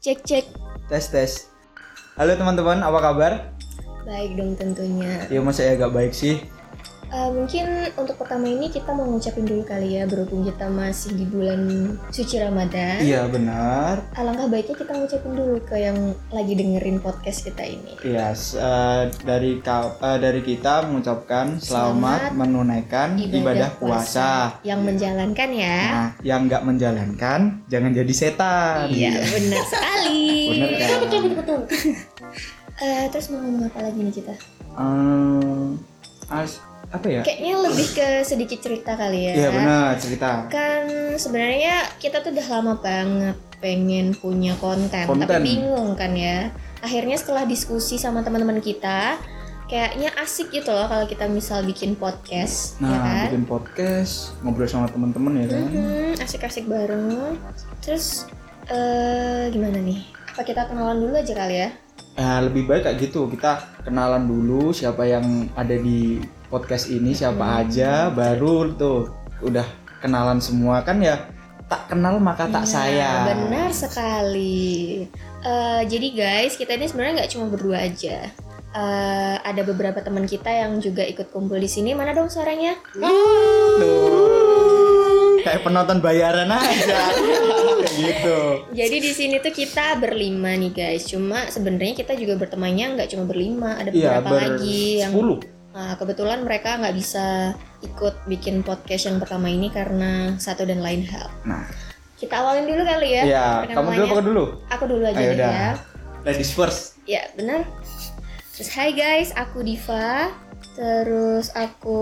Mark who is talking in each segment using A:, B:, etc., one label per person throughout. A: Cek cek.
B: Tes tes. Halo teman-teman, apa kabar?
A: Baik dong tentunya.
B: Ya masa ya agak baik sih.
A: Eh, mungkin untuk pertama ini kita mau ngucapin dulu kali ya berhubung kita masih di bulan suci Ramadan.
B: Iya benar.
A: Alangkah baiknya kita ngucapin dulu ke yang lagi dengerin podcast kita ini.
B: Iya s- eh, dari ka- eh, dari kita mengucapkan selamat,
A: Selamat
B: menunaikan ibadah, puasa. Iya.
A: Yang menjalankan ya.
B: Nah, yang nggak menjalankan jangan jadi setan.
A: Iya, benar sekali.
B: Nah, Benar kan?
A: Betul, betul, betul. Eh, terus mau ngomong apa lagi nih kita?
B: Eh, as- apa ya?
A: Kayaknya lebih ke sedikit cerita kali ya.
B: Iya benar cerita.
A: Kan sebenarnya kita tuh udah lama banget pengen punya konten,
B: Konten.
A: tapi bingung kan ya. Akhirnya setelah diskusi sama teman-teman kita, kayaknya asik gitu loh kalau kita misal bikin podcast, ya
B: Nah,
A: kan?
B: bikin podcast, ngobrol sama teman-teman ya kan.
A: Mhm, asik-asik bareng. Terus eh gimana nih? Apa kita kenalan dulu aja kali ya?
B: Nah, lebih baik kayak gitu. Kita kenalan dulu siapa yang ada di podcast ini, siapa
A: Hmm.
B: aja, baru tuh udah kenalan semua kan ya. Tak kenal maka
A: Nah,
B: tak sayang.
A: Benar sekali. Eh, jadi guys, kita ini sebenarnya nggak cuma berdua aja. Eh, ada beberapa teman kita yang juga ikut kumpul di sini. Mana dong suaranya?
B: Tuh. Kayak penonton bayaran aja. Kayak gitu.
A: Jadi di sini tuh kita berlima nih guys. Cuma sebenarnya kita juga bertemannya nggak cuma berlima, ada
B: Iya,
A: beberapa
B: ber
A: lagi yang
B: 10.
A: Nah, kebetulan mereka nggak bisa ikut bikin podcast yang pertama ini karena satu dan lain hal.
B: Nah.
A: Kita awalin dulu kali ya.
B: Iya,
A: perkenalannya.
B: kamu dulu apa dulu?
A: Aku dulu aja
B: Ayo
A: deh
B: dah.
A: ya.
B: Ladies first.
A: Ya, benar. Terus hai guys, aku Diva. Terus aku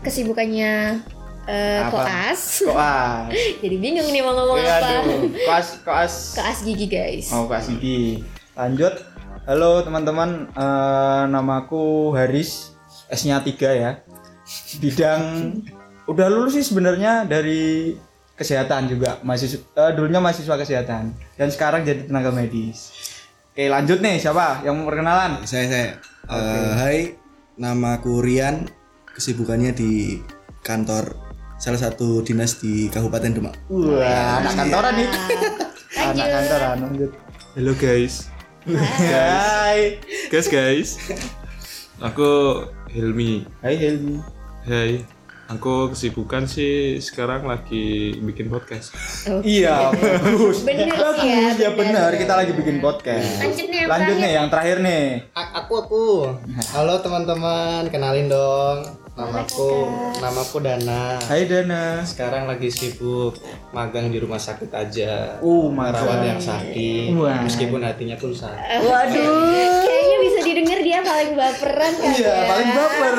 A: kesibukannya eh,
B: Apa?
A: koas.
B: Koas. Iya,
A: Jadi bingung nih mau ngomong apa.
B: Aduh, koas, koas.
A: Koas gigi guys.
B: Oh, Kak Sidi. Lanjut. Halo teman-teman, Eh, namaku Haris. S-nya 3 ya. Bidang udah lulus sih sebenarnya dari kesehatan juga. Masih dulunya mahasiswa kesehatan dan sekarang jadi tenaga medis. Oke, lanjut nih siapa yang mau perkenalan?
C: saya saya Eh, hai nama aku Rian kesibukannya di kantor salah satu dinas di Kabupaten Demak
B: Wah, anak kantoran nih.
A: Nah,
B: Anak
A: lanjut.
B: kantoran, lanjut.
D: Halo guys,
B: Hai.
D: guys guys, aku Hilmi.
B: Hai Helmi.
D: Hai, aku kesibukan sih sekarang lagi bikin podcast.
A: Oke.
B: Iya, bagus.
A: Bener sih
B: bagus.
A: ya,
B: Ya benar,
A: bener.
B: kita lagi bikin podcast.
A: Lanjut nih yang
B: Lanjut
A: terakhir.
B: nih yang terakhir nih.
E: A- aku aku halo teman-teman kenalin dong namaku namaku Dana
B: Hai Dana.
E: sekarang lagi sibuk magang di rumah sakit aja
B: Uh,
E: merawat
B: marah.
E: yang sakit
B: Wah.
E: meskipun hatinya pun sakit
A: Waduh. Kayaknya bisa didengar dia paling baperan kan
B: Iya,
A: ya.
B: paling baper.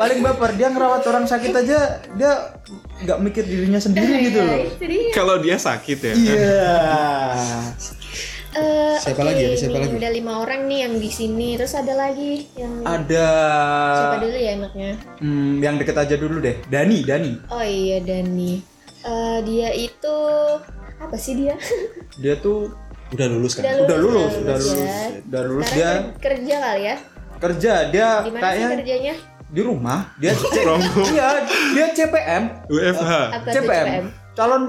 B: Paling baper dia ngerawat orang sakit aja dia nggak mikir dirinya sendiri gitu loh.
A: Jadi
D: Kalau dia sakit ya.
B: Iya.
A: eh,
C: Siapa
A: oke,
C: lagi ya? Siapa
A: ini
C: lagi?
A: Ada lima orang nih yang di sini. Terus ada lagi yang
B: Ada
A: siapa dulu ya enaknya?
B: hmm, yang deket aja dulu deh. Dani, Dani.
A: Oh iya Dani. Eh, dia itu apa sih dia?
B: Dia tuh
C: udah lulus kan
B: udah lulus, udah lulus,
A: ya.
B: udah lulus dia
A: Sekarang ker- kerja kali ya?
B: kerja dia
A: Di mana sih
B: kayak
A: kerjanya?
B: di rumah dia iya dia CPM
D: UFH.
A: Apa tuh,
B: CPM calon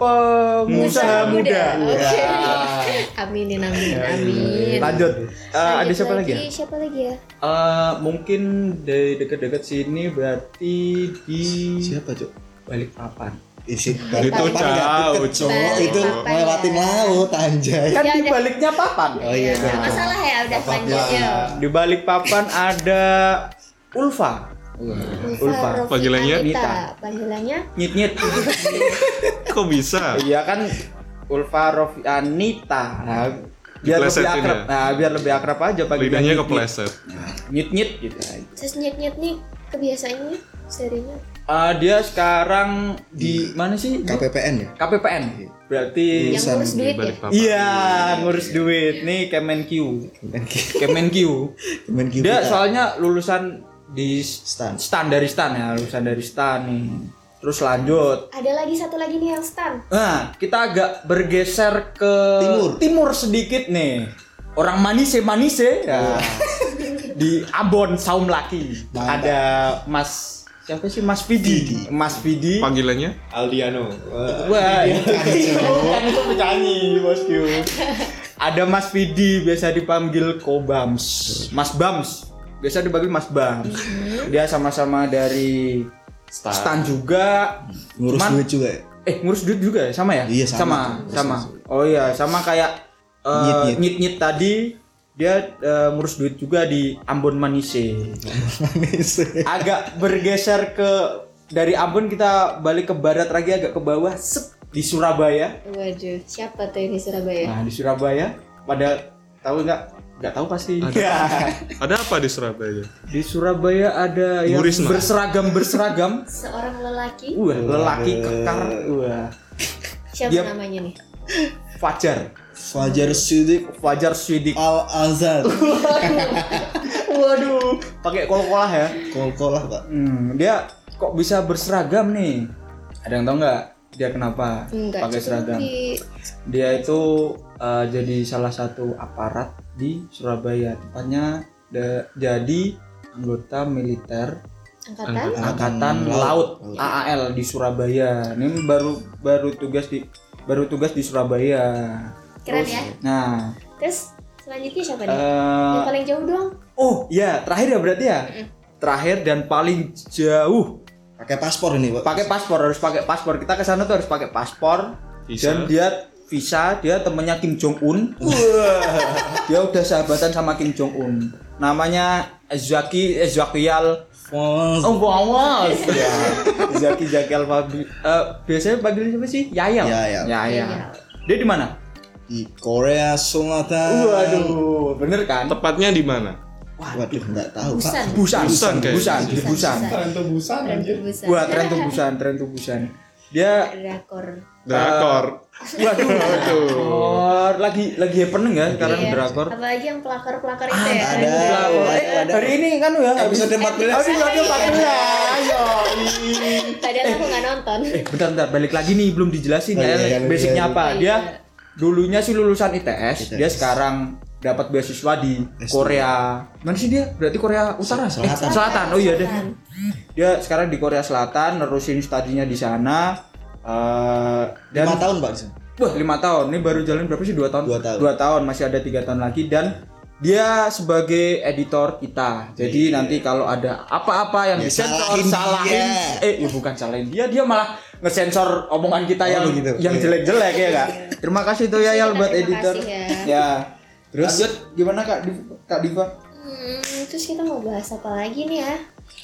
B: pengusaha
A: Pengusaha muda.
B: muda.
A: Oke.
B: Iya.
A: Aminin amin amin.
B: Lanjut. Eh, ada
A: Lanjut
B: siapa lagi? ya?
A: Siapa lagi ya?
B: Eh, mungkin dari dekat-dekat sini berarti di
C: siapa cok
B: Balikpapan.
C: isi
D: Itu
C: Balikpapan nggak
D: jauh,
C: deket,
D: cowok.
C: Cok. itu
A: Balikpapan
C: ngelewatin
A: ya.
C: laut anjay
B: Kan
A: Ya
B: di
A: udah.
B: baliknya papan.
C: Oh iya,
A: Nggak
C: betul.
A: masalah ya udah lanjut ya.
B: Di Balikpapan ada Ulfa. Ulfa.
A: Rofi
D: Panggilannya?
A: Anita.
B: Nita.
A: Panggilannya
B: Nyit-nyit.
D: Kok bisa?
B: iya kan Ulfa Rofianita. Nah, biar lebih
D: Diplesetin
B: akrab.
D: ya?
B: Nah, biar lebih akrab aja pagi
D: Lidahnya kepleset.
B: Nyit-nyit gitu aja.
A: Terus nyet-nyet nih kebiasaannya serinya
B: Eh, dia sekarang di
C: Iya.
B: mana sih?
C: KPPN ya
B: KPPN. Berarti
C: Iya,
A: yang ngurus
C: di
A: duit ya.
D: Balik papan.
B: Iya, ngurus duit nih Kemenq. Kemenq.
C: Kemen
B: Dia soalnya lulusan di
C: Stan.
B: Stan dari Stan ya, lulusan dari Stan nih. Terus lanjut.
A: Ada lagi satu lagi nih yang stan.
B: Nah, kita agak bergeser ke
C: Timur.
B: sedikit nih. Orang Manise
C: Iya.
B: Manise ya. di Ambon Saum Laki
C: Mantap.
B: ada Mas siapa sih Mas Vidi? Mas Vidi.
D: Panggilannya?
F: Aldiano.
B: Wah, iya. bukan itu penyanyi bosku. Ada Mas Vidi biasa dipanggil Kobams, Mas Bams biasa dipanggil Mas Bams. Dia sama-sama dari
F: Stan.
B: Stan juga,
C: ngurus
B: Cuman-
C: duit juga ya?
B: eh ngurus duit juga ya? sama ya?
C: Iya, sama.
B: sama. sama. Oh iya sama kayak eh,
C: Nyit-nyit.
B: nyit-nyit tadi dia eh, ngurus duit juga di Ambon Manise. agak bergeser ke dari Ambon kita balik ke barat lagi agak ke bawah set di Surabaya.
A: Waduh, siapa tuh ini Surabaya?
B: Nah, di Surabaya pada tahu nggak? Nggak tahu pasti. Iya.
D: Ada apa di Surabaya?
B: di Surabaya ada yang
D: Burisma.
B: berseragam berseragam.
A: Seorang lelaki.
B: Wah, lelaki kekar. Wah,
A: Siapa
B: Dia-
A: namanya nih?
B: Fajar.
C: Fajar Siddiq
B: Fajar Swidik.
C: Al Azhar
B: Waduh, pakai kol-kolah ya.
C: kol-kolah pak
B: Hmm, dia kok bisa berseragam nih? Ada yang tahu nggak? Dia kenapa
A: Enggak.
B: pakai
A: cukup
B: seragam?
A: di-
B: Dia itu uh, jadi salah satu aparat di Surabaya, tepatnya da- jadi anggota militer
A: angkatan.
B: Angkatan Laut,
C: Laut.
B: AAL di Surabaya. Ini baru baru tugas di baru tugas di Surabaya.
A: Keren ya.
B: Nah,
A: Terus selanjutnya siapa nih?
B: eh,
A: Yang paling jauh doang.
B: oh ya terakhir ya berarti ya. Terakhir dan paling jauh
C: pakai paspor ini pak
B: pakai paspor harus pakai paspor kita ke sana tuh harus pakai paspor
D: Visa.
B: dan dia visa dia temennya Kim Jong Un dia udah sahabatan sama Kim Jong Un namanya Zaki eh, Zakial
C: Fons.
B: oh wow ya Zaki Zakial Fabi Eh, biasanya panggil siapa sih Yayal
C: Yayal.
B: Yayal. dia di mana
C: di Korea Selatan
B: waduh bener kan
D: Tepatnya di mana?
C: waduh nggak tahu pak
A: Busan.
B: Busan
D: Busan,
B: Busan
D: kayaknya.
B: Busan di Busan
F: Keren tuh busan
A: Keren
F: anjir.
A: tuh Busan.
B: wah tren tuh Busan tren tuh Busan dia
A: Drakor.
D: Eh, Drakor.
B: waduh drakor. lagi lagi happening ya sekarang
A: Iya.
B: drakor
A: Apalagi yang pelakor-pelakor itu ya.
C: ada.
B: Eh, hari ini kan ya
C: Episode 14.
B: Episode 14. Ayo.
A: Padahal aku nggak nonton.
B: Eh, bentar bentar balik lagi nih belum dijelasin
C: Oh,
B: ya
C: iya, iya, iya,
B: basicnya
C: iya.
B: apa. Dia
A: Iya.
B: dulunya sih lulusan ITS,
C: ITS.
B: dia sekarang dapat beasiswa di
C: S2.
B: Korea. Mana sih dia? Berarti Korea Utara.
C: Selatan.
B: Eh, Selatan. Oh iya deh.
A: Selatan.
B: Dia sekarang di Korea Selatan nerusin studinya di sana. Eh, dan-
C: lima tahun pak di sana.
B: Wah lima tahun, ini baru jalan berapa sih dua tahun?
C: Dua tahun.
B: masih ada tiga tahun lagi dan dia sebagai editor kita. Jadi nanti kalau ada apa-apa yang
C: Iya. Ya,
B: disensor,
C: salahin
B: salahin,
C: dia.
B: eh ya bukan salahin dia, dia malah ngesensor omongan kita
C: Oh,
B: yang
C: begitu.
B: yang
C: Iya.
B: jelek-jelek ya kak. Terima kasih tuh Yayal buat
A: Terima
B: editor.
A: kasih ya.
B: Terus gimana kak, Div- kak Diva?
A: Hmm, terus kita mau bahas apa lagi nih ya?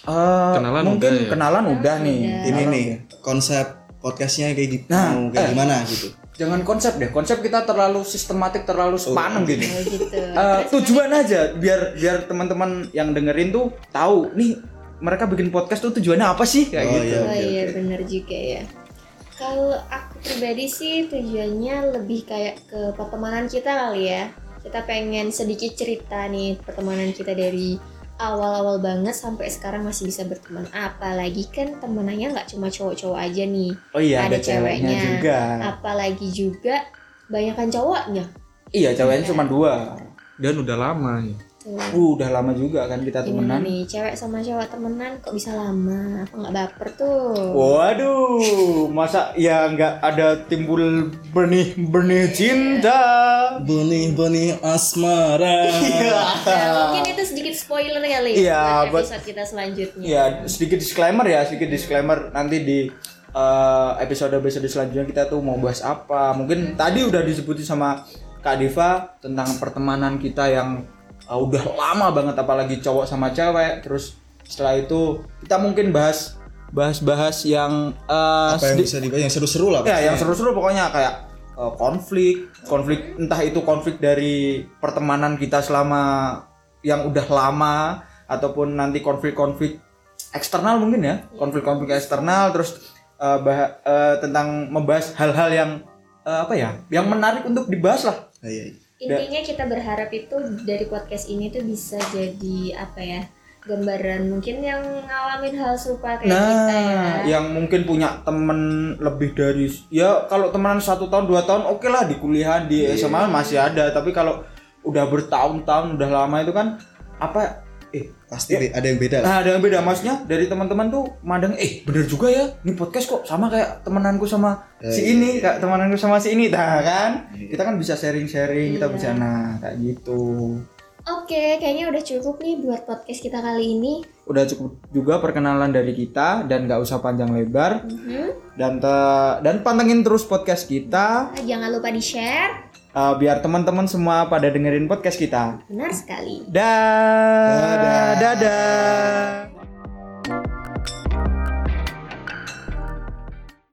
B: Eh,
D: Kenalan
B: mungkin
D: udah ya?
B: kenalan udah nih.
A: Udah.
C: ini
B: Kenalan
C: nih konsep podcastnya kayak gitu
B: Nah,
C: mau kayak
B: eh.
C: gimana gitu
B: Jangan konsep deh, konsep kita terlalu sistematik, terlalu sepanem
C: iya.
B: gitu.
A: Oh gitu.
B: Eh, tujuan aja biar biar teman-teman yang dengerin tuh tahu nih mereka bikin podcast tuh tujuannya apa sih kayak
C: Oh,
B: gitu.
C: iya.
A: Oh
C: oke,
A: iya benar juga ya. Kalau aku pribadi sih tujuannya lebih kayak ke pertemanan kita kali ya. Kita pengen sedikit cerita nih pertemanan kita dari awal-awal banget sampai sekarang masih bisa berteman. Apalagi kan temenannya nggak cuma cowok-cowok aja nih.
B: Oh iya
A: Ada
B: ada, ceweknya
A: ceweknya.
B: juga.
A: Apalagi juga banyakan cowoknya.
B: Iya ceweknya cuma dua.
D: Dan udah lama ya.
A: Tuh.
B: Uh, udah lama juga kan kita
A: Gimana
B: temenan.
A: nih cewek sama cowok temenan kok bisa lama? Aku nggak baper tuh.
B: Waduh, masa ya nggak ada timbul benih-benih cinta.
C: benih-benih asmara
A: Nah, mungkin itu sedikit spoiler kali
B: Iya,
A: buat
B: buat-
A: episode kita selanjutnya.
B: Ya sedikit disclaimer ya, sedikit disclaimer nanti di episode episode selanjutnya kita tuh mau bahas apa. Mungkin tadi udah disebutin sama Kak Diva tentang pertemanan kita yang eh, udah lama banget apalagi cowok sama cewek. Terus setelah itu kita mungkin bahas bahas-bahas yang eh,
C: apa yang
B: sedi-
C: bisa dibahas yang seru-seru lah
B: Ya, yang
C: pastinya.
B: seru-seru pokoknya kayak eh, konflik, konflik entah itu konflik dari pertemanan kita selama yang udah lama ataupun nanti konflik-konflik eksternal mungkin ya, konflik-konflik eksternal terus eh, bah- eh, tentang membahas hal-hal yang eh, apa ya, yang menarik untuk dibahas lah.
C: Ah, iya, iya.
A: Intinya kita berharap itu dari podcast ini tuh bisa jadi apa ya? gambaran mungkin yang ngalamin hal serupa kayak kita
B: Nah,
A: ya.
B: yang mungkin punya temen lebih dari ya kalau temenan satu tahun dua tahun oke lah di
A: Iya.
B: kuliahan di SMA masih ada tapi kalau udah bertahun-tahun udah lama itu kan apa eh
C: pasti be- ada yang beda lah
B: Nah, ada yang beda maksudnya dari teman-teman tuh mandang eh bener juga ya. Ini podcast kok sama kayak temenanku sama
C: Eh,
B: si
A: iya,
B: ini, kayak temenanku sama si ini, dah kan?
C: Iya.
B: Kita kan bisa sharing-sharing, kita
A: Iya.
B: bisa nah kayak gitu.
A: Oke, kayaknya udah cukup nih buat podcast kita kali ini.
B: Udah cukup juga perkenalan dari kita dan nggak usah panjang lebar
A: Mhm.
B: dan te- dan pantengin terus podcast kita
A: Jangan lupa di-share.
B: eh, biar teman-teman semua pada dengerin podcast kita.
A: Benar sekali.
B: Dah.
C: Dadah.
B: Dadah.